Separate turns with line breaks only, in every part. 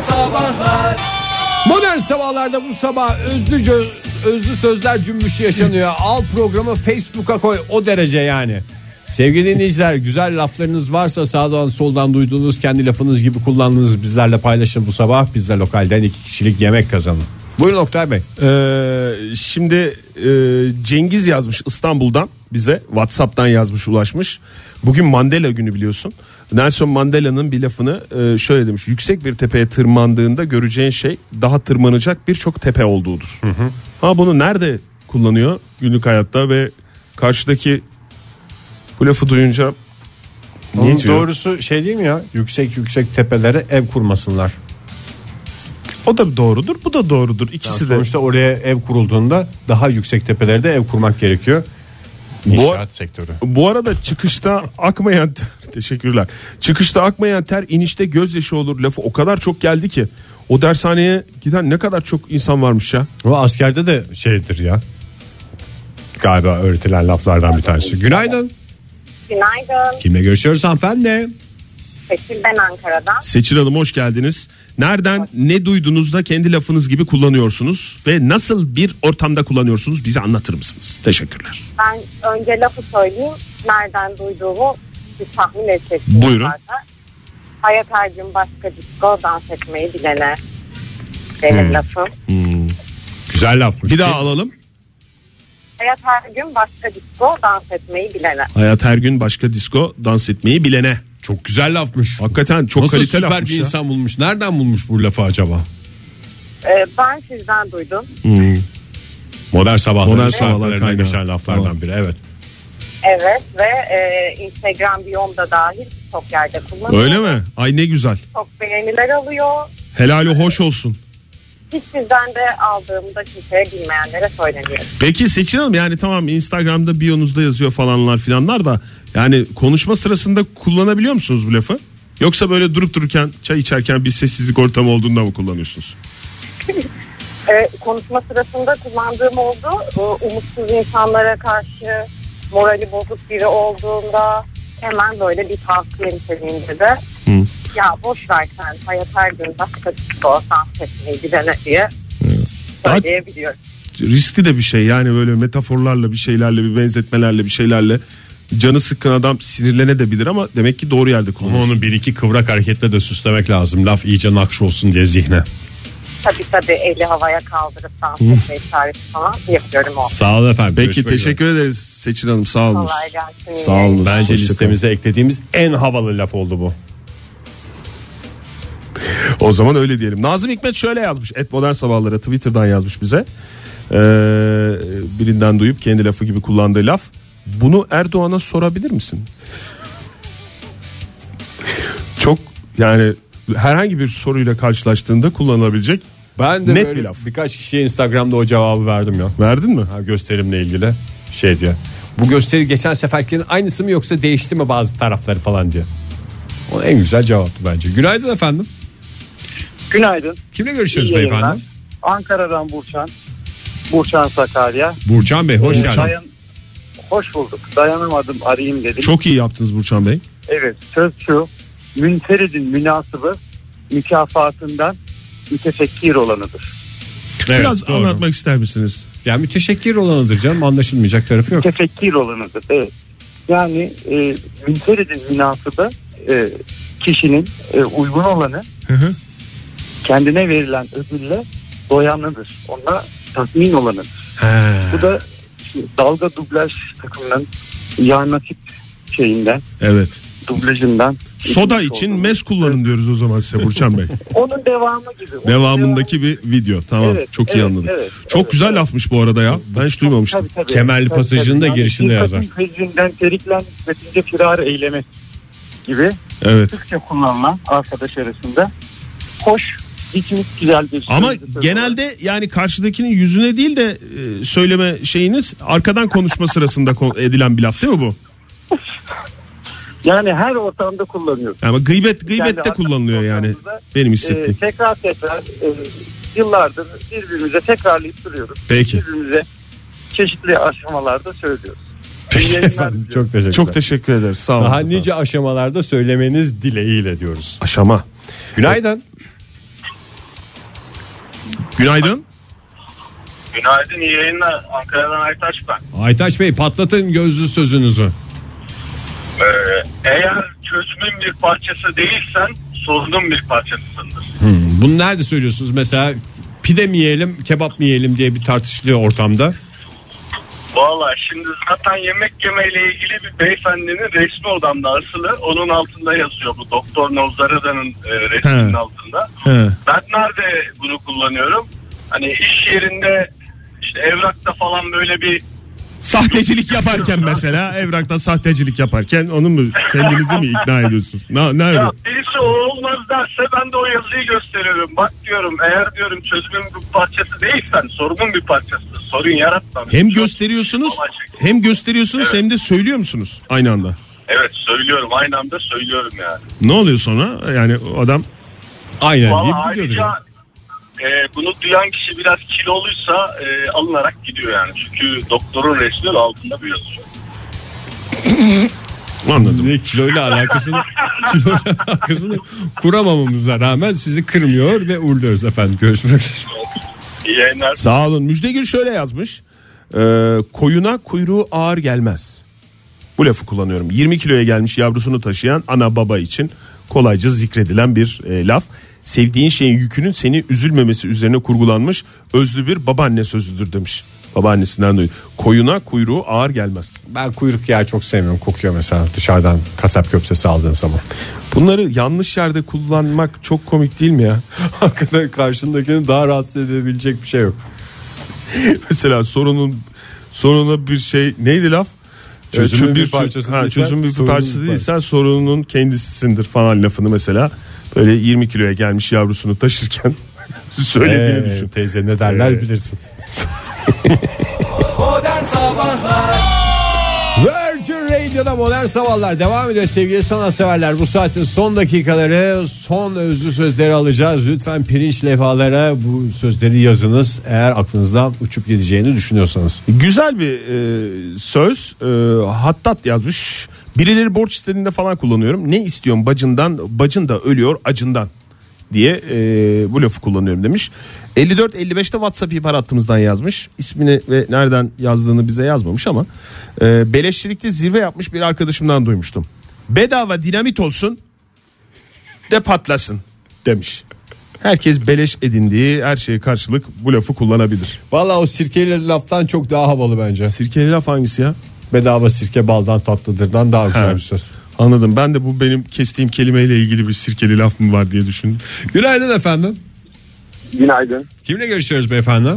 Sabahlar
Modern sabahlarda bu sabah özlü cö- özlü sözler cümbüşü yaşanıyor. Al programı Facebook'a koy o derece yani. Sevgili dinleyiciler güzel laflarınız varsa sağdan soldan duyduğunuz kendi lafınız gibi kullandığınız bizlerle paylaşın bu sabah. Biz de lokalden iki kişilik yemek kazanın. Buyurun Oktay Bey.
Ee, şimdi e, Cengiz yazmış İstanbul'dan bize WhatsApp'tan yazmış ulaşmış. Bugün Mandela günü biliyorsun. Nelson Mandela'nın bir lafını e, şöyle demiş. Yüksek bir tepeye tırmandığında göreceğin şey daha tırmanacak birçok tepe olduğudur. Ha bunu nerede kullanıyor günlük hayatta ve karşıdaki bu lafı duyunca
Onun
diyor?
doğrusu şey değil mi ya yüksek yüksek tepelere ev kurmasınlar.
o da doğrudur bu da doğrudur
Yani
ikisi de.
sonuçta oraya ev kurulduğunda daha yüksek tepelerde ev kurmak gerekiyor. İnşaat sektörü.
Bu arada çıkışta akmayan ter- teşekkürler. Çıkışta akmayan ter inişte gözyaşı olur lafı o kadar çok geldi ki. O dershaneye giden ne kadar çok insan varmış ya.
Bu askerde de şeydir ya. Galiba öğretilen laflardan bir tanesi. Günaydın.
Günaydın.
Kimle görüşüyoruz hanımefendi?
Seçil ben Ankara'dan.
Seçil Hanım hoş geldiniz. Nereden ne duydunuz da kendi lafınız gibi kullanıyorsunuz ve nasıl bir ortamda kullanıyorsunuz bize anlatır mısınız? Teşekkürler.
Ben önce lafı söyleyeyim. Nereden duyduğumu siz tahmin edeceksiniz.
Buyurun.
zaten. Hayat her gün başka disco dans etmeyi bilene. Benim
Hmm.
lafım.
Güzel lafmış.
Bir daha alalım.
Hayat her gün başka disco dans etmeyi bilene.
Hayat her gün başka disco dans etmeyi bilene.
Çok güzel lafmış.
Hakikaten çok
Nasıl
kaliteli
süper
lafmış
bir
ya.
insan bulmuş. Nereden bulmuş bu lafı acaba?
Ee, ben sizden duydum.
Modern sabahların
Modern
şarkılarına
sabahlar kaynağı.
geçen laflardan
Tamam.
biri. Evet.
Evet ve e, Instagram biyomda dahil çok yerde kullanılıyor.
Öyle mi? Ay ne güzel.
Çok beğeniler alıyor.
Helali hoş olsun.
Hiç sizden de aldığımda kimseye bilmeyenlere söyleniyor.
Peki Seçil Hanım yani tamam Instagram'da biyonuzda yazıyor falanlar filanlar da yani konuşma sırasında kullanabiliyor musunuz bu lafı? Yoksa böyle durup dururken çay içerken bir sessizlik ortamı olduğunda mı kullanıyorsunuz?
e, konuşma sırasında kullandığım oldu. Bu umutsuz insanlara karşı morali bozuk biri olduğunda hemen böyle bir tavsiye niteliğinde de ya boş ver sen hayat her gün başka bir şey olsan sesini gidene diye
Daha-
söyleyebiliyorum.
Riskli de bir şey yani böyle metaforlarla bir şeylerle bir benzetmelerle bir şeylerle canı sıkkın adam sinirlene de bilir ama demek ki doğru yerde
Ama
kullanıyor.
onu bir iki kıvrak hareketle de süslemek lazım. Laf iyice nakş olsun diye zihne.
Tabii tabii eli havaya kaldırıp dans etme işareti falan yapıyorum o.
Sağ olun efendim.
Peki
Görüşmek üzere.
teşekkür ederiz Seçil Hanım sağ olun.
Kolay gelsin.
Sağ olun.
Bence
Hoşça kalın.
listemize eklediğimiz en havalı laf oldu bu.
O zaman öyle diyelim. Nazım Hikmet şöyle yazmış. Et Modern Sabahları Twitter'dan yazmış bize. Ee, birinden duyup kendi lafı gibi kullandığı laf. Bunu Erdoğan'a sorabilir misin? Çok yani herhangi bir soruyla karşılaştığında kullanılabilecek.
Ben de
Net
böyle
bir laf.
birkaç kişiye Instagram'da o cevabı verdim ya.
Verdin mi?
Ha, gösterimle ilgili şey diye. Bu gösteri geçen seferkinin aynısı mı yoksa değişti mi bazı tarafları falan diye. O en güzel cevaptı bence. Günaydın efendim.
Günaydın.
Kimle görüşüyoruz
İyi yayınlar.
beyefendi?
Ankara'dan Burçan. Burçan Sakarya.
Burcan Bey hoş
Ee,
geldiniz.
dayan- hoş bulduk. Dayanamadım arayayım dedim.
Çok iyi yaptınız Burçan Bey.
Evet söz şu. Münferidin münasıbı mükafatından mütefekkir olanıdır.
Evet,
Biraz
doğru.
anlatmak ister misiniz?
Yani müteşekkir olanıdır canım anlaşılmayacak tarafı yok.
Mütefekkir olanıdır. Evet. Yani e, münferidin münasıbı e, kişinin e, uygun olanı kendine verilen ödülle doyanıdır. Ona tatmin olanıdır.
He.
Bu da şu dalga dublaj takımının yarnakip şeyinden,
Evet.
dublajından.
Soda
edilmiş
için
olduğu.
mes kullanın diyoruz o zaman size Burçan Bey.
Onun devamı gibi. Onun
Devamındaki bir video. Tamam.
Evet,
çok iyi
evet,
anladım.
evet,
çok
evet,
güzel
evet.
lafmış bu arada ya. Ben hiç
devamı-
duymamıştım.
Tabii, tabii.
Kemal
Tabii,
Pasajı'nın da
tabii.
girişinde yazar.
Dikkatin Pezinden teriklen nitetince firar eylemi gibi
Evet.
sıkça kullanılan arkadaş arasında hoş, içimiz güzel bir
Ama
sözdür söz olarak.
genelde yani karşıdakinin yüzüne değil de e, söyleme şeyiniz arkadan konuşma sırasında kon- edilen bir laf değil mi bu?
yani her ortamda kullanıyoruz.
Yani bak gıybet
Kendi
gıybette
arkadaş
kullanılıyor yani
ortamımızda,
benim
e,
hissettiğim.
tekrar tekrar e, yıllardır birbirimize tekrarlayıp duruyoruz.
Peki.
birbirimize çeşitli aşamalarda söylüyoruz.
Peki
İyi yayınlar
efendim
diliyorum.
çok teşekkürler.
Çok teşekkür ederiz. Sağ olun.
Daha
efendim.
nice aşamalarda söylemeniz dileğiyle diyoruz.
aşama.
Günaydın.
Günaydın.
Günaydın iyi yayınlar. Ankara'dan Aytaç ben.
Aytaç Bey patlatın gözlü sözünüzü.
Ee, eğer çözümün bir parçası değilsen sorunun bir parçasısındır.
Hmm, Bunu nerede söylüyorsunuz mesela? Pide mi yiyelim, kebap mı yiyelim diye bir tartışılıyor ortamda.
Valla şimdi zaten yemek yemeyle ilgili bir beyefendinin resmi odamda asılı. Onun altında yazıyor bu Doktor Nozarıda'nın e, resminin
He.
altında.
He.
Ben nerede bunu kullanıyorum? Hani iş yerinde işte evrakta falan böyle bir
Sahtecilik yaparken mesela evrakta sahtecilik yaparken onu mu kendinizi mi ikna ediyorsunuz? Na, nerede?
Ya birisi o olmaz derse ben de o yazıyı gösteriyorum. Bak diyorum eğer diyorum çözümün bir parçası değilsen sorunun bir parçası. Sorun yaratma.
Hem
Çok-
gösteriyorsunuz hem gösteriyorsunuz hem de söylüyor musunuz aynı anda?
Evet söylüyorum aynı anda söylüyorum yani.
Ne oluyor sonra? Yani o adam
Aynen
Vallahi
deyip gidiyordur.
ayrıca
yani.
e, bunu duyan kişi biraz kiloluysa e, alınarak gidiyor yani. Çünkü doktorun resmi altında bir yazıyor.
anladım.
Ne kiloyla alakasını, kiloyla alakasını kuramamamıza rağmen sizi kırmıyor ve uğurluyoruz efendim. Görüşmek üzere.
İyi yayınlar.
Sağ olun. Müjde Gül şöyle yazmış. Ee, koyuna kuyruğu ağır gelmez. Bu lafı kullanıyorum. 20 kiloya gelmiş yavrusunu taşıyan ana baba için kolayca zikredilen bir e, laf. Sevdiğin şeyin yükünün seni üzülmemesi üzerine kurgulanmış özlü bir babaanne sözüdür demiş. Babaannesinden duydum. Koyuna kuyruğu ağır gelmez.
Ben kuyruk yağı çok sevmiyorum. Kokuyor mesela dışarıdan kasap köftesi aldığın zaman.
Bunları yanlış yerde kullanmak çok komik değil mi ya?
Hakikaten karşındakini daha rahatsız edebilecek bir şey yok.
Mesela sorunun soruna bir şey neydi laf?
Çözümün
Ee,
bir
çö-
parçası
ha,
değilsen
çözümün bir
sorunun
parçası
bir
değilsen sorunun kendisisindir falan lafını mesela böyle 20 kiloya gelmiş yavrusunu taşırken söylediğini
Ee,
düşün.
Teyze ne derler
Ee.
bilirsin. Virgin Radio'da modern sabahlar devam ediyor sevgili sanatseverler. Bu saatin son dakikaları, son özlü sözleri alacağız. Lütfen pirinç levhalara bu sözleri yazınız. Eğer aklınızdan uçup gideceğini düşünüyorsanız.
Güzel bir e, söz e, Hattat yazmış. Birileri borç istediğinde falan kullanıyorum. Ne istiyorum bacından, bacın da ölüyor acından diye e, bu lafı kullanıyorum demiş. 54-55'te WhatsApp ihbar hattımızdan yazmış. İsmini ve nereden yazdığını bize yazmamış ama e, beleşçilikte zirve yapmış bir arkadaşımdan duymuştum. Bedava dinamit olsun de patlasın demiş. Herkes beleş edindiği her şeye karşılık bu lafı kullanabilir.
Valla o sirkeli laftan çok daha havalı bence.
Sirkeli laf hangisi ya?
Bedava sirke baldan tatlıdırdan daha güzel
Ha.
bir söz.
Anladım. Ben de bu benim kestiğim kelimeyle ilgili bir sirkeli laf mı var diye düşündüm.
Günaydın efendim.
Günaydın.
Kimle görüşüyoruz beyefendi?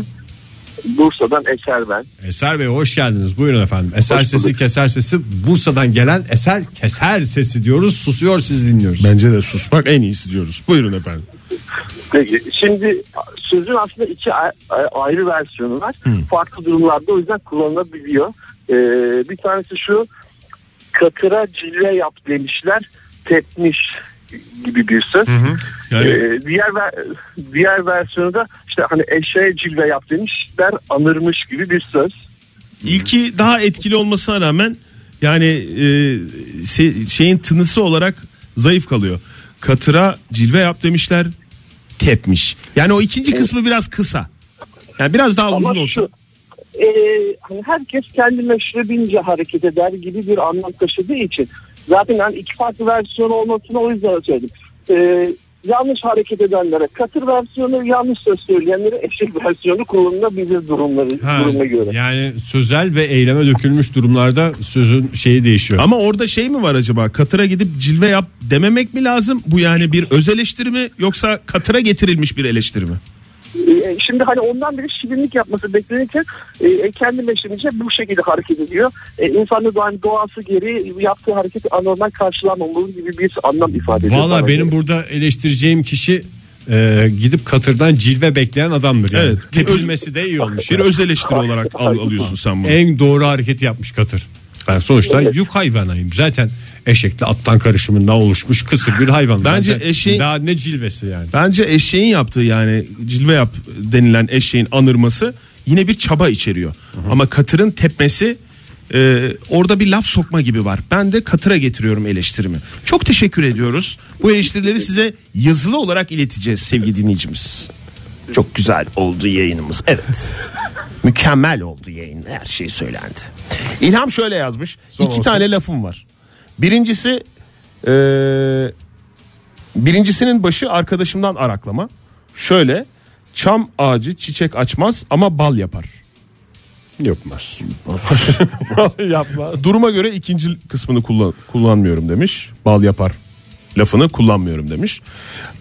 Bursa'dan Eser ben.
Eser Bey hoş geldiniz. Buyurun efendim. Eser
Hoş
sesi
bulduk.
keser sesi Bursa'dan gelen eser keser sesi diyoruz. Susuyor siz dinliyoruz.
Bence de sus. Bak en iyisi diyoruz. Buyurun efendim.
Peki şimdi sözün aslında iki a- a- ayrı versiyonu var. Farklı durumlarda o yüzden kullanılabiliyor. Ee, bir tanesi şu katıra cilve yap demişler tepmiş gibi bir söz.
Yani
Ee, diğer ver- diğer versiyonu da işte hani eşeğe cilve yap demişler anırmış gibi bir söz.
ilki daha etkili olmasına rağmen yani e, se- şeyin tınısı olarak zayıf kalıyor. Katıra cilve yap demişler. Tepmiş. Yani o ikinci kısmı biraz kısa. Yani biraz daha uzun
Ama
olsun.
şu, e, hani herkes kendi meşrebince hareket eder gibi bir anlam taşıdığı için. Zaten hani iki farklı versiyon olmasını o yüzden söyledim. E, yanlış hareket edenlere katır versiyonu, yanlış söz söyleyenlere eşek versiyonu kullanılabilir durumları, durumuna göre.
Yani sözel ve eyleme dökülmüş durumlarda sözün şeyi değişiyor.
Ama orada şey mi var acaba? Katıra gidip cilve yap dememek mi lazım? Bu yani bir öz eleştiri mi yoksa katıra getirilmiş bir eleştiri mi?
E, şimdi hani ondan biri şirinlik yapması beklenirken e, kendi meşrebince bu şekilde hareket ediyor. E, insanın da hani doğası gereği yaptığı hareket anormal karşılanmamalı gibi bir anlam ifade ediyor.
Valla
bana
benim
göre.
burada eleştireceğim kişi e, gidip katırdan cilve bekleyen adamdır. Yani.
Evet.
Tepilmesi de iyi olmuş.
Bir
yani.
öz eleştiri olarak al- alıyorsun sen bunu.
En doğru hareketi yapmış katır. Ben sonuçta yük hayvanıyım. Zaten eşekle attan karışımından oluşmuş kısır bir hayvan.
Bence
Zaten
eşeğin-
Daha ne cilvesi yani.
Bence eşeğin yaptığı yani cilve yap denilen eşeğin anırması yine bir çaba içeriyor. Ama katırın tepmesi e, orada bir laf sokma gibi var. Ben de katıra getiriyorum eleştirimi. Çok teşekkür ediyoruz. Bu eleştirileri size yazılı olarak ileteceğiz sevgili dinleyicimiz. Çok güzel oldu yayınımız. Evet. Mükemmel oldu yayın. Her şey söylendi. İlham şöyle yazmış. İki tane lafım var. Birincisi eee, birincisinin başı arkadaşımdan araklama. Şöyle çam ağacı çiçek açmaz ama bal yapar.
Yapmaz. Yapmaz.
Duruma göre ikinci kısmını kullan, kullanmıyorum demiş. Bal yapar lafını kullanmıyorum demiş.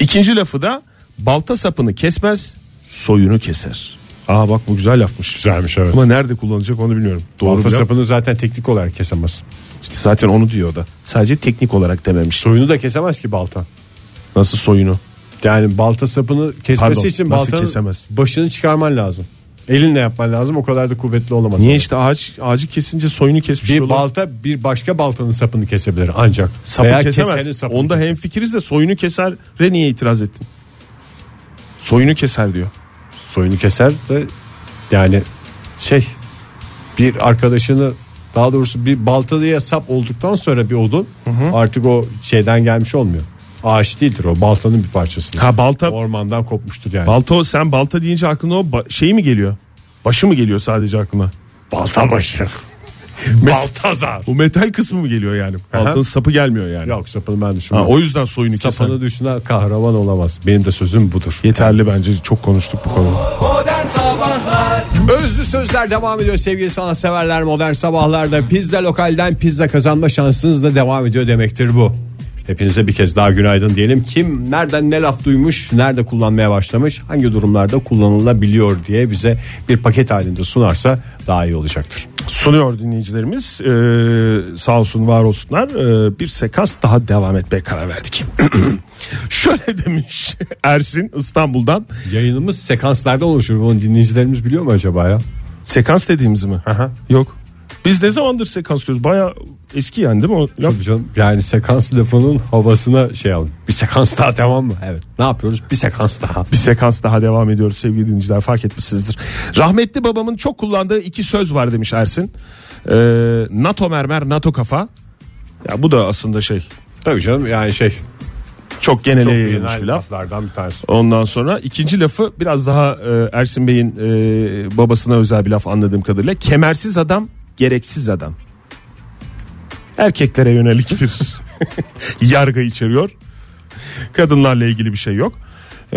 İkinci lafı da balta sapını kesmez soyunu keser. Aa bak bu güzel lafmış.
Güzelmiş evet.
Ama nerede kullanacak onu bilmiyorum. Doğru
Balta
mu?
sapını zaten teknik olarak kesemez.
İşte zaten onu diyor o da. Sadece teknik olarak dememiş.
Soyunu da kesemez ki balta.
Nasıl soyunu?
Yani balta sapını kesmesi
Pardon,
için
nasıl
baltanın
kesemez?
başını çıkarman lazım. Elinle yapman lazım. O kadar da kuvvetli olamaz.
Niye
Yani.
işte şey ağaç ağacı kesince soyunu kesmiş
bir
olan-
balta bir başka baltanın sapını kesebilir ancak.
sapı
Veya kesenin
kesemez.
sapını
Onda
keser.
hem fikiriz de soyunu kesere niye itiraz ettin? Soyunu keser diyor.
soyunu keser de yani şey bir arkadaşını daha doğrusu bir baltalıya sap olduktan sonra bir odun artık o şeyden gelmiş olmuyor. Ağaç değildir o baltanın bir parçası.
Ha balta
Ormandan kopmuştur yani.
balta o- sen balta deyince aklına o ba- şey mi geliyor? Başı mı geliyor sadece aklına?
balta başı. Baltazar.
Bu metal kısmı mı geliyor yani? Baltanın sapı gelmiyor yani.
Yok sapını ben
Ha,
düşünmüyorum.
o yüzden soyunu keser.
Sapanı düşünen kahraman olamaz. Benim de sözüm budur.
Yeterli bence çok konuştuk bu konuda.
Özlü sözler devam ediyor sevgili sanatseverler modern sabahlarda pizza lokalden pizza kazanma şansınız da devam ediyor demektir bu. Hepinize bir kez daha günaydın diyelim. Kim nereden ne laf duymuş, nerede kullanmaya başlamış, hangi durumlarda kullanılabiliyor diye bize bir paket halinde sunarsa daha iyi olacaktır.
sunuyor dinleyicilerimiz. Ee, sağ olsun var olsunlar. Ee, bir sekans daha devam etmeye karar verdik. Şöyle demiş Ersin İstanbul'dan.
Yayınımız sekanslardan oluşur. Bunu dinleyicilerimiz biliyor mu acaba ya?
Sekans dediğimiz mi? Yok. Biz ne zamandır sekans diyoruz? Baya eski yani değil mi? O laf?
Tabii canım. Yani sekans lafının havasına şey alın. Bir sekans daha tamam mı? Evet. Ne yapıyoruz? Bir sekans daha.
Bir sekans daha devam ediyoruz sevgili dinleyiciler fark etmişsinizdir. Rahmetli babamın çok kullandığı iki söz var demiş Ersin. Ee, NATO mermer NATO kafa. Ya bu da aslında şey
Tabii canım yani şey.
çok genele
Çok
yayılmış bir
bilinen
laf.
laflardan bir tanesi.
Ondan sonra ikinci lafı biraz daha e, Ersin Bey'in e, babasına özel bir laf anladığım kadarıyla. Kemersiz adam, gereksiz adam. Erkeklere yönelik bir yargı içeriyor. Kadınlarla ilgili bir şey yok. E,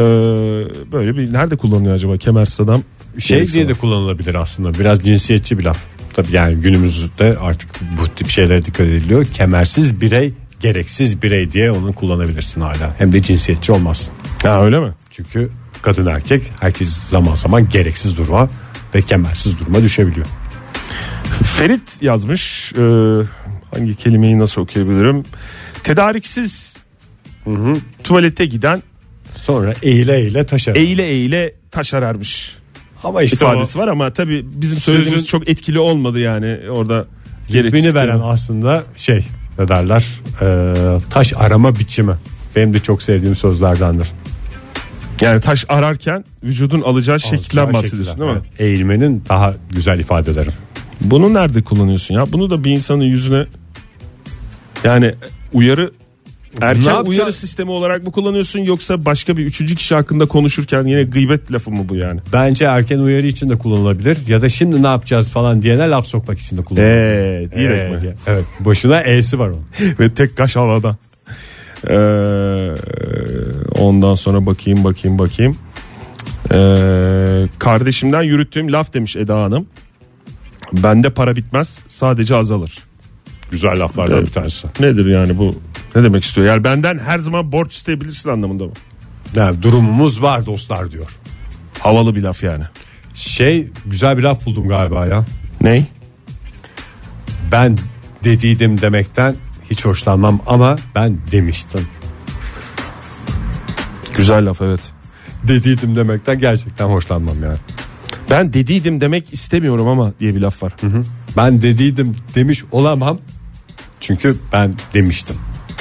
böyle bir nerede kullanılıyor acaba kemersiz adam?
Şey
gereksiz
diye de
adam?
kullanılabilir aslında. Biraz cinsiyetçi bir laf. Tabii yani günümüzde artık bu tip şeylere dikkat ediliyor. Kemersiz birey, gereksiz birey diye onu kullanabilirsin hala. Hem de cinsiyetçi olmazsın.
Ha öyle mi?
Çünkü kadın erkek herkes zaman zaman gereksiz duruma ve kemersiz duruma düşebiliyor.
Ferit yazmış. E, hangi kelimeyi nasıl okuyabilirim? Tedariksiz tuvalete giden
Sonra eğile eğile taşar.
eğile eğile taş ararmış.
Ama işte
ifadesi
o
var ama tabii bizim
Sözün-
söylediğimiz çok etkili olmadı yani orada
ritmini
gereksiz
veren
kelime.
aslında şey ne derler Ee, taş arama biçimi. Benim de çok sevdiğim sözlerdendir.
yani taş ararken vücudun alacağı şekilden
Şekiller,
bahsediyorsun değil mi?
evet. Eğilmenin daha güzel ifadeleri.
Bunu nerede kullanıyorsun ya? Bunu da bir insanın yüzüne yani uyarı
Ne
erken
yapacaksın?
uyarı sistemi olarak mı kullanıyorsun yoksa başka bir üçüncü kişi hakkında konuşurken yine gıybet lafı mı bu yani?
Bence erken uyarı için de kullanılabilir. Ya da şimdi ne yapacağız falan diyene laf sokmak için de kullanılabilir.
Eee diyerek
Ee,
mi?
diye. Evet. Boşuna E'si var onun.
Ve tek kaş havada. Ee, ondan sonra bakayım bakayım bakayım. Ee, kardeşimden yürüttüğüm laf demiş Eda Hanım. Bende para bitmez sadece azalır.
Güzel laflardan
Evet.
bir tanesi.
Nedir yani bu? Ne demek istiyor? Yani benden her zaman borç isteyebilirsin anlamında mı?
Yani durumumuz var dostlar diyor.
Havalı bir laf yani.
Şey güzel bir laf buldum galiba ya.
Ney?
Ben dediydim demekten hiç hoşlanmam ama ben demiştim.
Güzel laf evet.
Dediydim demekten gerçekten hoşlanmam yani.
Ben dediydim demek istemiyorum ama diye bir laf var.
Ben dediydim demiş olamam. Çünkü ben demiştim.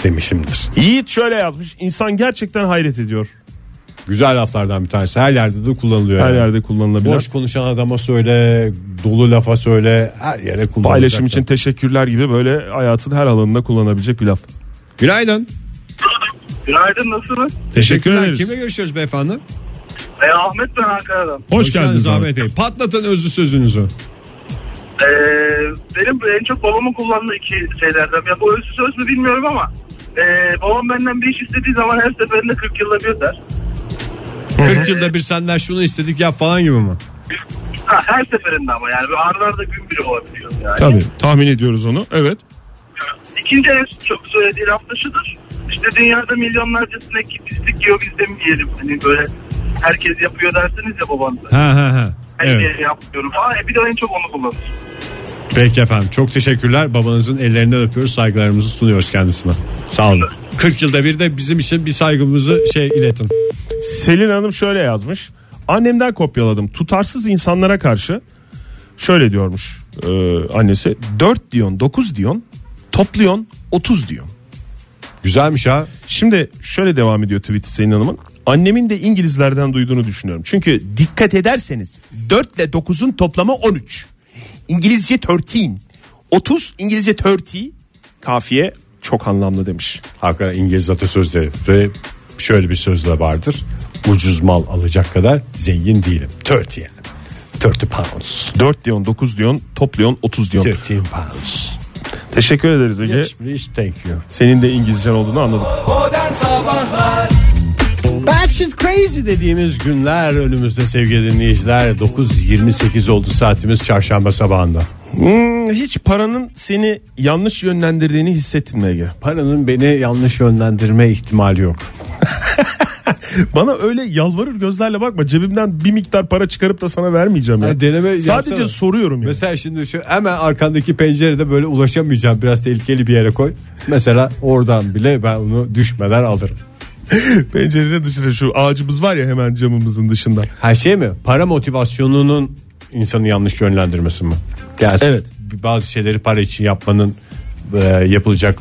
Demişimdir.
Yiğit şöyle yazmış. İnsan gerçekten hayret ediyor.
Güzel laflardan bir tanesi. Her yerde de kullanılıyor.
Her
yani.
yerde kullanılabilen.
Boş konuşan adama söyle, dolu lafa söyle, her yere kullan.
Paylaşım için teşekkürler gibi böyle hayatın her alanında kullanabilecek bir laf.
Günaydın.
Günaydın nasılsınız?
Teşekkür ederiz.
Kimle görüşüyoruz beyefendi?
E, Ahmet ben Ankara'dan.
Hoş, geldiniz Ahmet.
Ahmet Bey. Patlatın özlü sözünüzü.
E, benim en çok babamın kullandığı iki şeylerden. Ya bu özlü söz mü bilmiyorum ama e, babam benden bir iş istediği zaman her seferinde 40 yılda bir der.
40 yılda bir senden şunu istedik ya falan gibi mi?
Ha, her seferinde ama yani Böyle arda arda gün bile olabiliyor yani.
Tabii.
Tahmin ediyoruz onu. Evet.
İkinci en çok söylediği laf da şudur. İşte dünyada milyonlarca sinek pislik yiyor biz de mi yiyelim? Hani böyle herkes yapıyor dersiniz ya babanıza.
Ha ha ha.
Ben
Evet.
niye yapmıyorum falan. E, bir de en çok onu kullanır.
Peki efendim çok teşekkürler. Babanızın ellerinden öpüyoruz. Saygılarımızı sunuyoruz kendisine. Sağ olun. 40 yılda bir de bizim için bir saygımızı şey iletin.
Selin Hanım şöyle yazmış. Annemden kopyaladım. Tutarsız insanlara karşı şöyle diyormuş e, annesi. 4 diyon 9 diyon topluyon 30 diyon.
Güzelmiş ha.
Şimdi şöyle devam ediyor tweet Selin Hanım'ın. Annemin de İngilizlerden duyduğunu düşünüyorum. Çünkü dikkat ederseniz 4 ile 9'un toplamı 13. İngilizce 13. 30 İngilizce 30 kafiye çok anlamlı demiş.
Hakikaten İngiliz atasözleri ve şöyle bir söz de vardır. Ucuz mal alacak kadar zengin değilim. 30 yani. 30 pounds.
4 diyon 9 diyon topluyon 30 diyon.
30 pounds.
Teşekkür ederiz Ege.
Yes, please, thank you.
Senin de İngilizcen olduğunu anladım.
Batshit Crazy dediğimiz günler önümüzde sevgili dinleyiciler. 9.28 oldu saatimiz çarşamba sabahında.
Hmm, hiç paranın seni yanlış yönlendirdiğini hissettin mi Ege?
Paranın beni yanlış yönlendirme ihtimali yok.
Bana öyle yalvarır gözlerle bakma. Cebimden bir miktar para çıkarıp da sana vermeyeceğim ya.
Ha, deneme
Sadece
yapsana.
soruyorum yani.
Mesela şimdi şu hemen arkandaki pencerede böyle ulaşamayacağım biraz tehlikeli bir yere koy. Mesela oradan bile ben onu düşmeden alırım.
Pencerenin dışında şu ağacımız var ya hemen camımızın dışında.
Her şey mi? Para motivasyonunun insanı yanlış yönlendirmesi mi? Yani
Evet.
Bazı şeyleri para için yapmanın e, yapılacak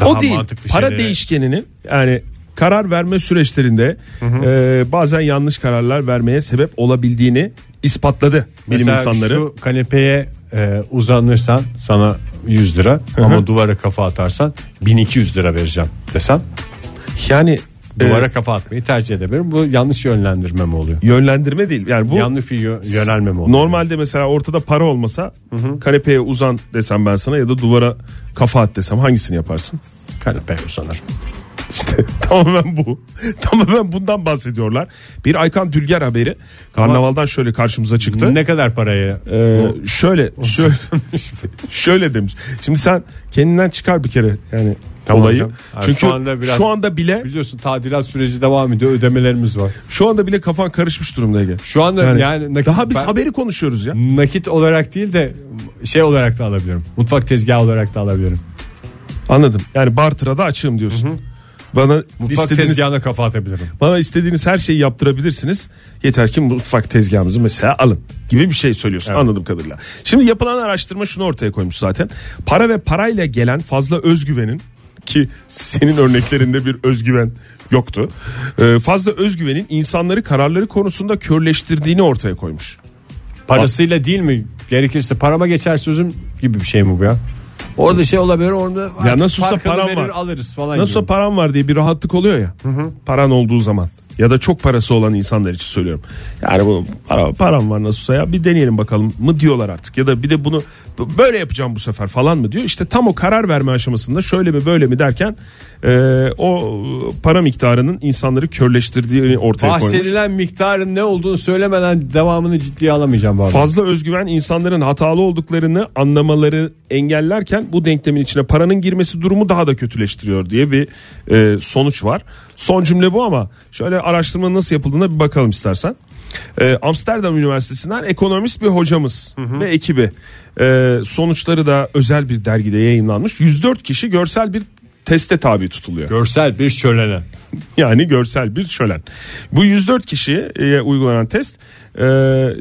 daha
o değil.
mantıklı
Para
şeylere-
değişkenini yani karar verme süreçlerinde e, bazen yanlış kararlar vermeye sebep olabildiğini ispatladı bilim
Mesela
insanları.
şu kanepeye e, uzanırsan sana 100 lira ama duvara kafa atarsan 1200 lira vereceğim desem
Yani e,
duvara kafa atmayı tercih edebilirim. Bu yanlış yönlendirme mi oluyor?
yönlendirme değil. Yani bu
yanlış bir yö- yönelme mi oluyor?
Normalde mesela ortada para olmasa kanepeye uzan desem ben sana ya da duvara kafa at desem hangisini yaparsın?
kanepeye uzanır.
İşte tamamen bu. tamamen bundan bahsediyorlar. Bir Aykan Dülger haberi karnavaldan şöyle karşımıza çıktı.
Ne kadar paraya?
Ee, şöyle şöyle şöyle demiş. Şimdi sen kendinden çıkar bir kere yani
Tamam
olayı.
hocam. Ha,
Çünkü
şu anda biraz-
şu anda bile
Biliyorsun tadilat süreci devam ediyor. Ödemelerimiz var.
şu anda bile kafan karışmış durumda Ege.
Şu anda yani,
Yani,
nakit,
daha biz
ben
haberi konuşuyoruz ya.
nakit olarak değil de şey olarak da alabilirim. Mutfak tezgahı olarak da alabilirim.
Anladım. Yani bartıra da açığım diyorsun. Bana
Mutfak
istediğiniz
tezgahına kafa atabilirim.
Bana istediğiniz her şeyi yaptırabilirsiniz. Yeter ki mutfak tezgahımızı mesela alın gibi bir şey söylüyorsun anladığım kadarıyla. Şimdi yapılan araştırma şunu ortaya koymuş zaten. Para ve parayla gelen fazla özgüvenin ki senin örneklerinde bir özgüven yoktu. Ee, fazla özgüvenin insanları kararları konusunda körleştirdiğini ortaya koymuş.
Parasıyla değil mi? Gerekirse parama geçer sözüm gibi bir şey mi bu ya? Orada şey olabilir orada
Ya nasıl olsa
farkını
param
verir,
var.
alırız falan
Nasıl
gibi.
param var diye bir rahatlık oluyor ya. Paran olduğu zaman ya da çok parası olan insanlar için söylüyorum. Yani bu para, param var nasıl olsa ya bir deneyelim bakalım mı diyorlar artık. Ya da bir de bunu b- böyle yapacağım bu sefer falan mı diyor. İşte tam o karar verme aşamasında şöyle mi böyle mi derken e, o e, para miktarının insanları körleştirdiğini ortaya koymuş.
Bahsedilen miktarın ne olduğunu söylemeden devamını ciddiye alamayacağım bu arada.
Fazla özgüven insanların hatalı olduklarını anlamaları engellerken bu denklemin içine paranın girmesi durumu daha da kötüleştiriyor diye bir e, sonuç var. Son cümle bu ama şöyle araştırmanın nasıl yapıldığına bir bakalım istersen. E, Amsterdam Üniversitesi'nden ekonomist bir hocamız ve ekibi e, sonuçları da özel bir dergide yayınlanmış. 104 kişi görsel bir teste tabi tutuluyor.
Görsel bir şölene.
Yani görsel bir şölen. Bu 104 kişiye e, uygulanan test e,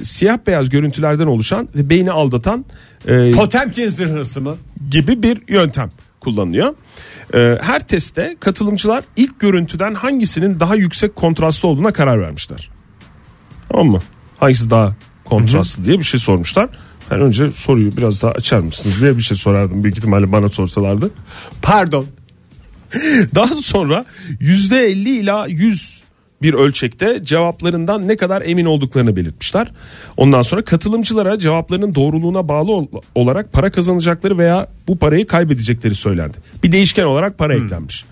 siyah beyaz görüntülerden oluşan ve beyni aldatan e,
Potemkin zırhlısı mı?
gibi bir yöntem kullanılıyor. E, her testte katılımcılar ilk görüntüden hangisinin daha yüksek kontrastlı olduğuna karar vermişler. Tamam mı? Hangisi daha kontrastlı diye bir şey sormuşlar. Ben önce soruyu biraz daha açar mısınız diye bir şey sorardım. Büyük ihtimalle bana sorsalardı.
Pardon.
Daha sonra %50 ila 100 bir ölçekte cevaplarından ne kadar emin olduklarını belirtmişler. Ondan sonra katılımcılara cevaplarının doğruluğuna bağlı ol- olarak para kazanacakları veya bu parayı kaybedecekleri söylendi. Bir değişken olarak para eklenmiş.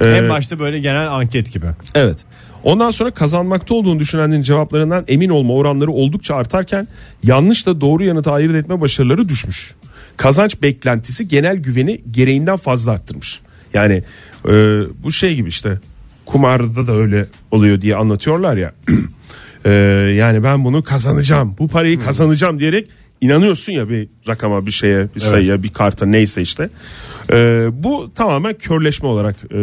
Ee,
En başta böyle genel anket gibi.
Evet. Ondan sonra kazanmakta olduğunu düşünenlerin cevaplarından emin olma oranları oldukça artarken yanlışla doğru yanıtı ayırt etme başarıları düşmüş. Kazanç beklentisi genel güveni gereğinden fazla arttırmış. Yani e, bu şey gibi işte kumarda da öyle oluyor diye anlatıyorlar ya. E, yani ben bunu kazanacağım, bu
Hmm.
parayı kazanacağım diyerek inanıyorsun ya bir rakama, bir şeye, bir sayıya, bir karta neyse işte. Ee, bu tamamen körleşme olarak e,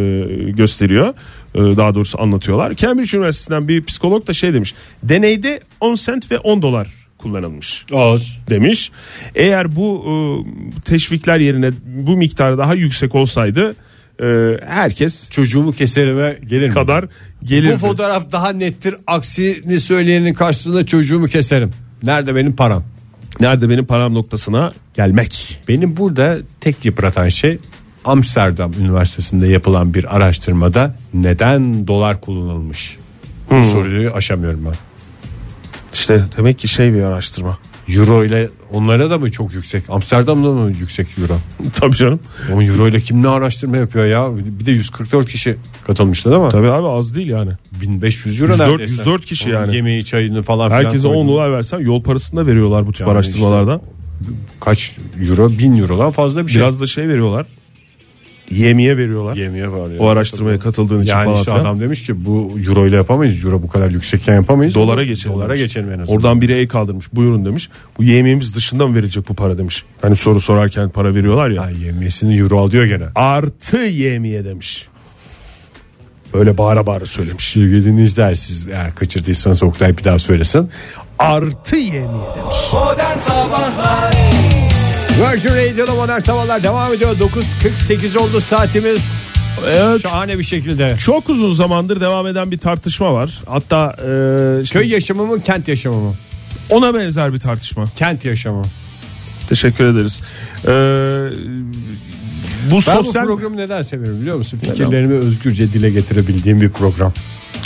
gösteriyor. Ee, daha doğrusu anlatıyorlar. Cambridge Üniversitesi'nden bir psikolog da şey demiş. Deneyde 10 sent ve 10 dolar kullanılmış
Oz.
demiş. Eğer bu e, teşvikler yerine bu miktar daha yüksek olsaydı e, herkes
Çocuğumu keserime gelir mi?
kadar
Bu
gelirdi.
fotoğraf daha nettir. Aksini söyleyenin karşısında çocuğumu keserim. Nerede benim param?
Nerede benim param noktasına gelmek.
Beni burada tek yıpratan şey Amsterdam Üniversitesi'nde yapılan bir araştırmada neden dolar kullanılmış?
Hmm.
Bu soruyu aşamıyorum ben.
İşte demek ki şey bir araştırma.
Euro ile onlara da mı çok yüksek? Amsterdam'da mı yüksek euro?
Tabii canım.
Ama euro ile kim ne araştırma yapıyor ya? Bir de 144 kişi katılmıştı değil mi?
Tabii abi az değil yani.
1500 euro
104
neredeyse.
104 kişi
Onun
yani.
Yemeği çayını falan filan.
Herkese 10
koydum.
dolar versen yol parasını da veriyorlar bu tip
Yani
araştırmalarda.
Kaç euro? 1000 eurodan fazla bir şey.
Biraz da şey veriyorlar. Yemiye veriyorlar.
yemeğe var ya.
O araştırmaya katıldığın için
Yani
falan.
işte
filan.
adam demiş ki bu euro ile yapamayız. Euro bu kadar yüksekken yapamayız.
Dolara geçelim.
Dolara
demiş.
geçelim en azından.
Oradan biri el kaldırmış. Buyurun demiş. Bu yemeğimiz dışından verecek bu para demiş. Hani soru sorarken para veriyorlar ya.
Ha, yemesini euro alıyor gene.
Artı yemiye demiş. Böyle bağıra bağıra söylemiş.
Sevgili dinleyiciler siz eğer kaçırdıysanız Oktay bir daha söylesin.
Artı yemiye demiş.
Virgin Radio'da modern sabahlar devam ediyor. 9.48 oldu saatimiz.
Evet.
Şahane bir şekilde.
Çok uzun zamandır devam eden bir tartışma var. Hatta e, işte
Köy yaşamı mı kent yaşamı mı?
ona benzer bir tartışma.
Kent yaşamı.
Teşekkür ederiz. E, bu
Ben
sosyal
bu programı neden seviyorum biliyor musun? Fikirlerimi özgürce dile getirebildiğim bir program.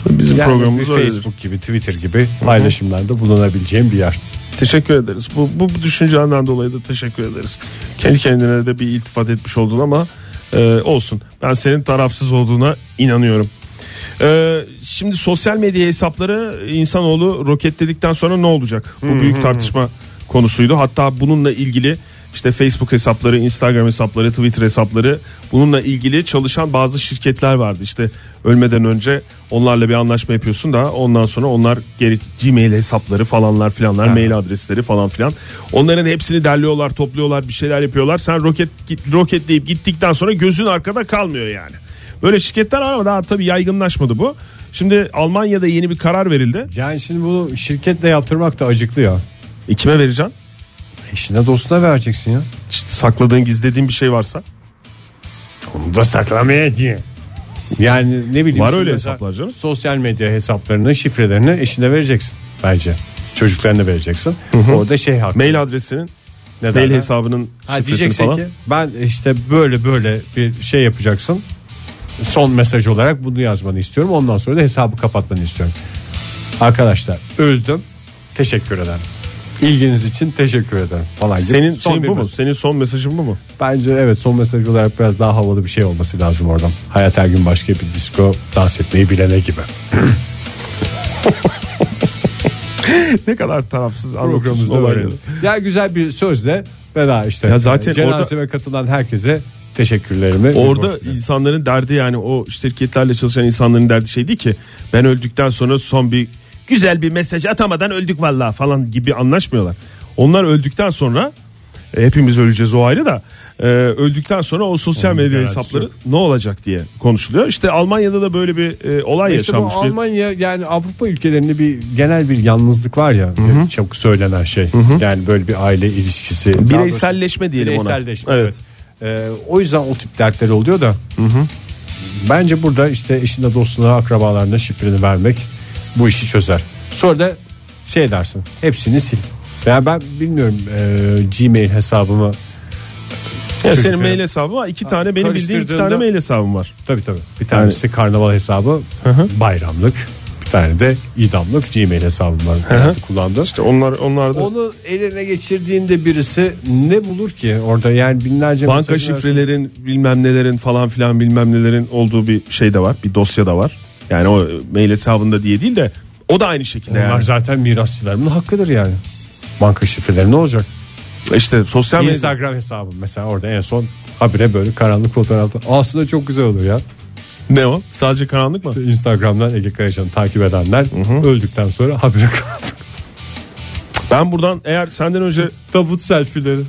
bizim
Yani
programımız
bir
öyledir.
Facebook gibi Twitter gibi paylaşımlarda bulunabileceğim bir yer.
Teşekkür ederiz. Bu, bu, bu düşüncenden dolayı da teşekkür ederiz. Kendi kendine de bir iltifat etmiş oldun ama e, olsun. Ben senin tarafsız olduğuna inanıyorum. E, şimdi sosyal medya hesapları insanoğlu roketledikten sonra ne olacak? Bu büyük tartışma konusuydu. Hatta bununla ilgili işte Facebook hesapları, Instagram hesapları, Twitter hesapları bununla ilgili çalışan bazı şirketler vardı. İşte ölmeden önce onlarla bir anlaşma yapıyorsun da ondan sonra onlar gerek Gmail hesapları falanlar filanlar, mail adresleri falan filan. Onların hepsini derliyorlar, topluyorlar, bir şeyler yapıyorlar. Sen roket roketleyip gittikten sonra gözün arkada kalmıyor yani. Böyle şirketler var ama daha tabii yaygınlaşmadı bu. Şimdi Almanya'da yeni bir karar verildi.
Yani şimdi bunu şirketle yaptırmak da acıklı ya.
E kime vereceksin?
Eşine dostuna vereceksin ya.
İşte sakladığın, gizlediğin bir şey varsa.
Onu da saklamayacağım. Yani ne bileyim.
Var
şimdi
öyle
mesela
hesaplar canım.
Sosyal medya hesaplarını, şifrelerini eşine vereceksin bence. Çocuklarına vereceksin. Orada şey hakkı.
Mail adresinin,
ne
mail
derler?
hesabının
Ha,
şifresini
diyeceksin
falan.
ki ben işte böyle böyle bir şey yapacaksın. Son mesaj olarak bunu yazmanı istiyorum. Ondan sonra da hesabı kapatmanı istiyorum. Arkadaşlar öldüm. Teşekkür ederim. İlginiz için teşekkür ederim falan. gibi.
Senin,
Son
senin
bir
bu mu?
mesaj.
Senin son mesajın bu mu?
Bence evet son mesaj olarak biraz daha havalı bir şey olması lazım oradan. Hayat her gün başka bir disco dans etmeyi bilene gibi.
ne kadar tarafsız anlatıyorsun
Programımızda böyle.
olayları.
Ya güzel bir sözle veda işte.
Ya zaten
Cenazeme katılan herkese teşekkürlerimi.
Orada
iletiyorum.
insanların derdi yani o şirketlerle çalışan insanların derdi şey değil ki ben öldükten sonra son bir güzel bir mesaj atamadan öldük vallahi falan gibi anlaşmıyorlar. Onlar öldükten sonra e, hepimiz öleceğiz o ayrı da e, öldükten sonra o sosyal medya
garantisi
hesapları
yok.
ne olacak diye konuşuluyor. İşte Almanya'da da böyle bir e, olay
İşte bu
yaşanmış. bir-
Almanya yani Avrupa ülkelerinde bir genel bir yalnızlık var ya çok söylenen şey. Yani böyle bir aile ilişkisi. daha doğrusu
bireyselleşme diyelim ona.
bireyselleşme,
Evet.
Evet. Ee, o yüzden o tip dertleri oluyor da. Bence burada işte eşine dostuna akrabalarına şifreni vermek bu işi çözer. Sonra da şey dersin hepsini sil. Ya ben bilmiyorum e, Gmail hesabımı
Ya
Çünkü-
senin mail hesabın var. iki tane benim bildiğim iki
karıştırdığında-
tane mail hesabım var.
Tabii tabii. Bir tanesi karnaval hesabı, bayramlık. Bir tane de idamlık Gmail hesabım var. Herhalde kullandım.
İşte onlar onlar da
Onu eline geçirdiğinde birisi ne bulur ki orada yani binlerce
banka
mesajın arasında-
şifrelerin bilmem nelerin falan filan bilmem nelerin olduğu bir şey de var. Bir dosya da var. Yani o mail hesabında diye değil de o da aynı şekilde
Onlar
yani.
zaten mirasçılarımın hakkıdır yani. Banka şifreleri ne olacak?
İşte sosyal medya.
Instagram hesabım mesela orada en son habire böyle karanlık fotoğraflar. Aslında çok güzel olur ya.
Ne o? Sadece karanlık mı?
İşte Instagram'dan Ege Kayacan'ı takip edenler öldükten sonra habire karanlık.
Ben buradan eğer senden önce
Tabut selfie'leri.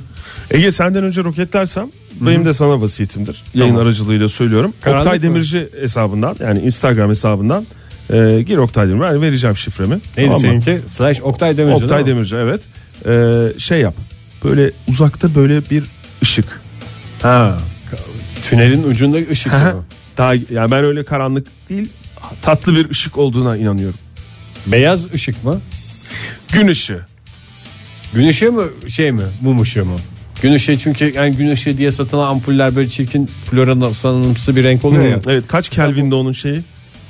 Ege senden önce roketlersem benim de sana vasiyetimdir. Yayın aracılığıyla söylüyorum.
Karanlık
Oktay
mı?
Demirci hesabından yani Instagram hesabından e, gir Oktay Demirci Yani vereceğim şifremi.
Neydi
Tamam mı?
seninki? Slash Oktay Demirci.
Oktay
değil mi?
Demirci evet. E, şey yap böyle uzakta böyle bir ışık.
Ha. Tünelin ucunda ışık.
Aha.
mı?
Daha yani ben öyle karanlık değil tatlı bir ışık olduğuna inanıyorum.
Beyaz ışık mı?
Gün ışığı.
Gün ışığı mı şey mi? Mum ışığı mı? Gün ışığı çünkü yani gün ışığı diye satılan ampuller böyle çirkin floran sanımsı bir renk oluyor ya.
Evet kaç Kelvin'de onun şeyi?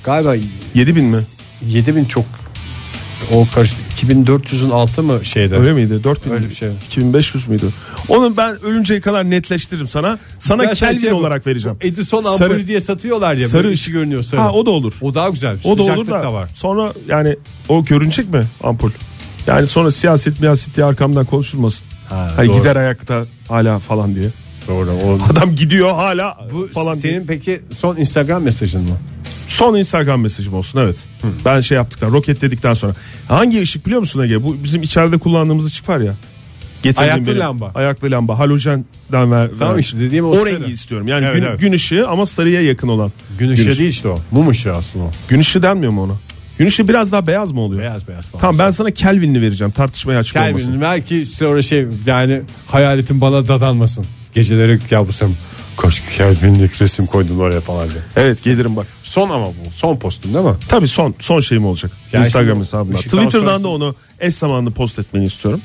Galiba
7000 mi?
7000 çok o karıştı. 2400'ün altı mı şeyde?
Öyle miydi? 4000
Öyle bir şey.
2500 müydü? Onu ben ölünceye kadar netleştiririm sana. Sana
Sen şey
Kelvin
yap-
olarak vereceğim.
Edison ampulü
Sarı.
diye satıyorlar ya.
Sarı
Sarı
ışık.
ışık görünüyor sarı.
Ha
o,
o da olur.
daha güzel.
O da olur
Sıcaklık
da.
var.
Sonra yani o görünecek mi ampul? Yani sonra siyaset miyaset diye arkamdan konuşulmasın.
Ha,
Hani
doğru.
gider ayakta hala falan diye.
Doğru. O,
Adam gidiyor hala
bu
falan diye.
senin peki son Instagram mesajın mı?
Son Instagram mesajım olsun evet. Ben şey yaptıktan roketledikten sonra. Hangi ışık biliyor musun Ege? Bu bizim içeride kullandığımız ışık var ya. Getirdiğim
Ayaklı lamba.
Ayaklı lamba. Halojenden ver.
Tamam
ver.
işte dediğim o
o
sarı.
rengi istiyorum. Yani
Evet,
gün,
evet.
gün ışığı ama sarıya yakın olan.
Gün ışığı
ışığı.
değil işte o. Mum ışığı aslında o.
Gün ışığı denmiyor mu ona? Gün ışığı biraz daha beyaz mı oluyor?
Beyaz beyaz. falan.
Tamam ben sana Kelvin'li vereceğim. Tartışmaya açık olmasın.
Kelvin'in ver ki sonra şey yani hayaletin bana dadanmasın. Geceleri kabusum. Kaç Kelvin'lik resim koydun oraya falan diye.
Evet gelirim bak.
Son ama bu. Son postun değil mi?
Tabii son son şeyim olacak.
Yani
Instagram
şimdi
hesabımda.
ışıktan
Twitter'dan
sonrası-
da onu eş zamanlı post etmeni istiyorum.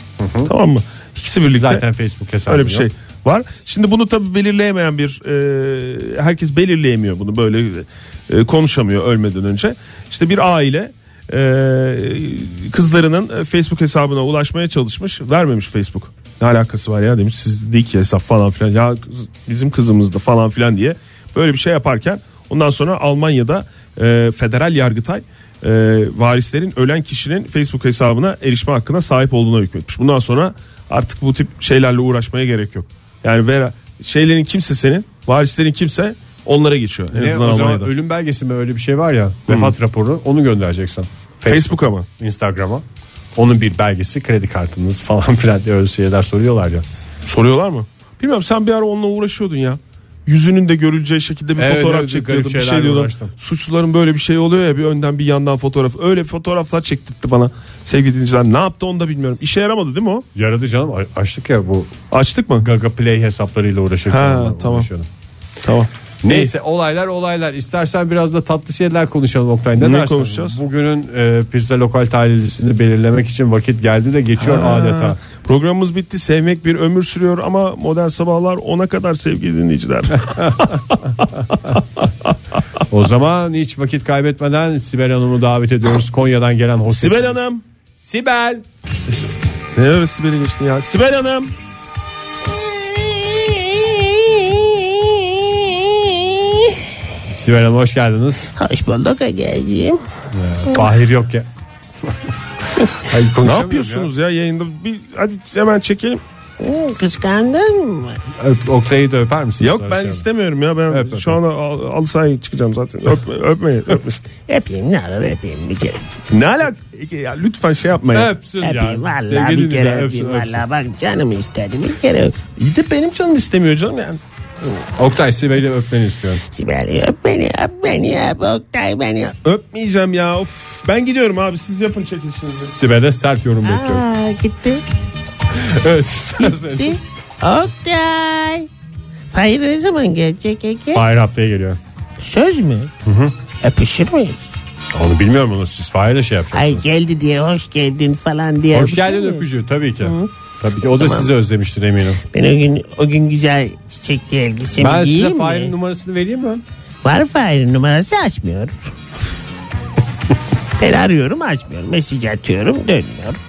Tamam mı? İkisi birlikte.
Zaten Facebook hesabı
Öyle bir
yok.
şey var. Şimdi bunu tabii belirleyemeyen bir e, herkes belirleyemiyor bunu böyle e, konuşamıyor ölmeden önce. İşte bir aile e, kızlarının Facebook hesabına ulaşmaya çalışmış vermemiş Facebook. Ne alakası var ya demiş sizdeki hesap falan filan ya kız- bizim kızımızdı falan filan diye böyle bir şey yaparken ondan sonra Almanya'da e, federal yargıtay e, varislerin ölen kişinin Facebook hesabına erişme hakkına sahip olduğuna hükmetmiş. Bundan sonra artık bu tip şeylerle uğraşmaya gerek yok. Yani vera, şeylerin kimse senin, varislerin kimse onlara geçiyor. En
Ne,
azından
o zaman
Almanya'da.
ölüm belgesi mi öyle bir şey var ya. Vefat raporu onu göndereceksin.
Facebook'a mı?
Instagram'a. Onun bir belgesi kredi kartınız falan filan diye öyle şeyler soruyorlar ya.
Soruyorlar mı? Bilmiyorum sen bir ara onunla uğraşıyordun ya. Yüzünün de görüleceği şekilde bir
Evet,
fotoğraf
evet,
çekiyordun.
garip
Bir şey
şeylerle
diyordun.
uğraştım.
Suçluların böyle bir şey oluyor ya bir önden bir yandan fotoğraf. Öyle fotoğraflar çektirtti bana sevgili dinleyiciler. Ne yaptı onu da bilmiyorum. İşe yaramadı değil mi o?
Yaradı canım a- açtık ya bu
Açtık mı?
Gaga Play hesaplarıyla uğraşırken.
Ha,
ben
tamam.
uğraşıyordum.
Tamam.
Neyse olaylar olaylar. İstersen biraz da tatlı şeyler konuşalım Oktay. Ne,
Ne
dersin?
konuşacağız?
Bugünün e, pizza lokal talihlisini belirlemek için vakit geldi de geçiyor adeta.
Ee, Programımız bitti. Sevmek bir ömür sürüyor ama modern sabahlar ona kadar sevgili dinleyiciler.
O zaman hiç vakit kaybetmeden Sibel Hanım'ı davet ediyoruz. Konya'dan gelen hostes.
Sibel Hanım.
Sibel.
Ne öyle Sibel'e geçtin ya? Sibel Hanım.
Sibel Hanım hoş geldiniz. E,
Hoş bulduk Ege'ciğim.
Fahir yok ya. Ay,
Ne
konuşamıyorum
yapıyorsunuz ya, yayında? Bir, hadi hemen çekelim.
Hmm, Kıskandın mı?
ya. Öp- Oktay'ı da öper misin?
Yok ben istemiyorum ya. Ben
Öp, öp,
şu
öp.
anda al, al sahaya çıkacağım zaten. Öpme, öpmeyin. Öpmesin.
Öpeyim ne olur öpeyim bir kere.
ne alak? Ya lütfen şey yapmayın.
Öpsün
Öpeyim
ya.
valla
Sevgili
bir kere
dinleyiciler,
öpeyim
öpsün, öpsün.
valla. Bak canım istedi bir kere öp.
İyi de benim canım istemiyor canım yani.
Oktay Sibel'i öpmeni istiyorum.
Sibel öp beni öp beni öp Oktay beni öp.
Öpmeyeceğim ya. Of. Ben gidiyorum abi. Siz yapın çekilişinizi.
Sibel'e sert yorum bekliyorum.
Aa gitti
Evet istersen.
gitti. Oktay. Hayır ne zaman gelecek Ege?
Fahir haftaya geliyor.
Söz mü? Hı hı. Öpüşür müyüz?
Onu bilmiyorum onu siz Fahir'le şey
Ay
yapacaksınız.
geldi diye hoş geldin falan diye.
Hoş
öpüşür
geldin
müyüz?
öpücüğü tabii ki. Tabii ki o da sizi özlemiştir eminim.
Ben o gün, o gün güzel çiçekli elbisemi
ben
giyeyim
size
mi?
Fahir'in numarasını vereyim mi?
Var Fahir'in numarası açmıyor. Ben arıyorum açmıyorum. Mesaj atıyorum dönmüyorum.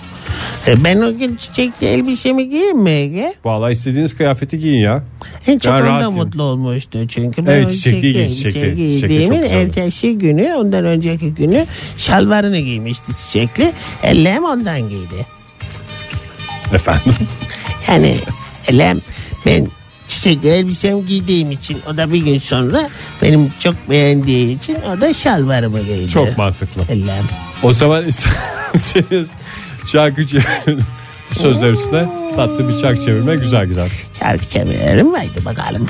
E, Ben o gün çiçekli elbisemi giyeyim mi Ege?
Vallahi istediğiniz kıyafeti giyin ya.
En çok
Ben
onda
rahatım.
mutlu olmuştu çünkü.
Evet,
o
çiçekli giy-
elbise
çiçekli- çiçekli çok
giydiğimin
güzeldi.
ertesi günü ondan önceki günü şalvarını giymişti çiçekli. Ellem ondan giydi.
Efendim.
Yani elem ben çiçekli elbisem giydiğim için o da bir gün sonra benim çok beğendiği için o da şalvarımı giydi.
Çok mantıklı.
Ellem.
O zaman isterseniz şarkı çevirin. Bu sözler üstüne tatlı bir çak çevirme güzel gider.
Şarkı çeviriyorum haydi bakalım.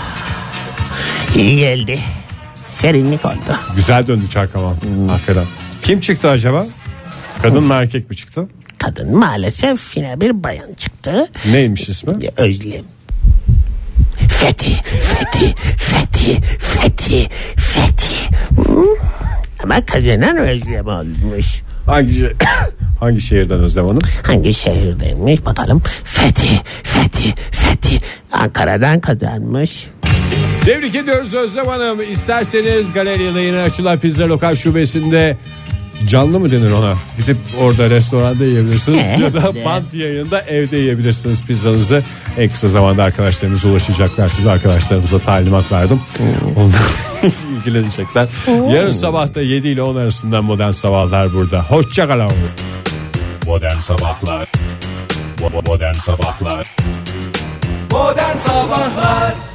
oh. İyi geldi. Serinlik oldu.
Güzel döndü çark ama
Hmm.
hakikaten. Kim çıktı acaba? Kadın mı erkek mi çıktı?
Kadın maalesef yine bir bayan çıktı.
Neymiş ismi?
Özlem. Fethi, Fethi, Fethi, Fethi, Fethi. Hmm. Ama kazanan Özlem olmuş.
Hangi şe- hangi şehirden Özlem Hanım?
Hangi şehirdeymiş bakalım. Fethi, Fethi, Fethi. Ankara'dan kazanmış.
Tebrik ediyoruz Özlem Hanım. İsterseniz galeride yeni açılan pizza lokal şubesinde canlı mı denir ona? Gidip orada restoranda yiyebilirsiniz
Evet.
ya da bant yayında evde yiyebilirsiniz pizzanızı. En kısa zamanda arkadaşlarımız ulaşacaklar. Size arkadaşlarımıza talimat verdim. Onlar ilgilenecekler. Yarın sabah da 7 ile 10 arasında Modern Sabahlar burada. Hoşçakalın.
Modern Sabahlar Bo- bo- Modern Sabahlar
Modern Sabahlar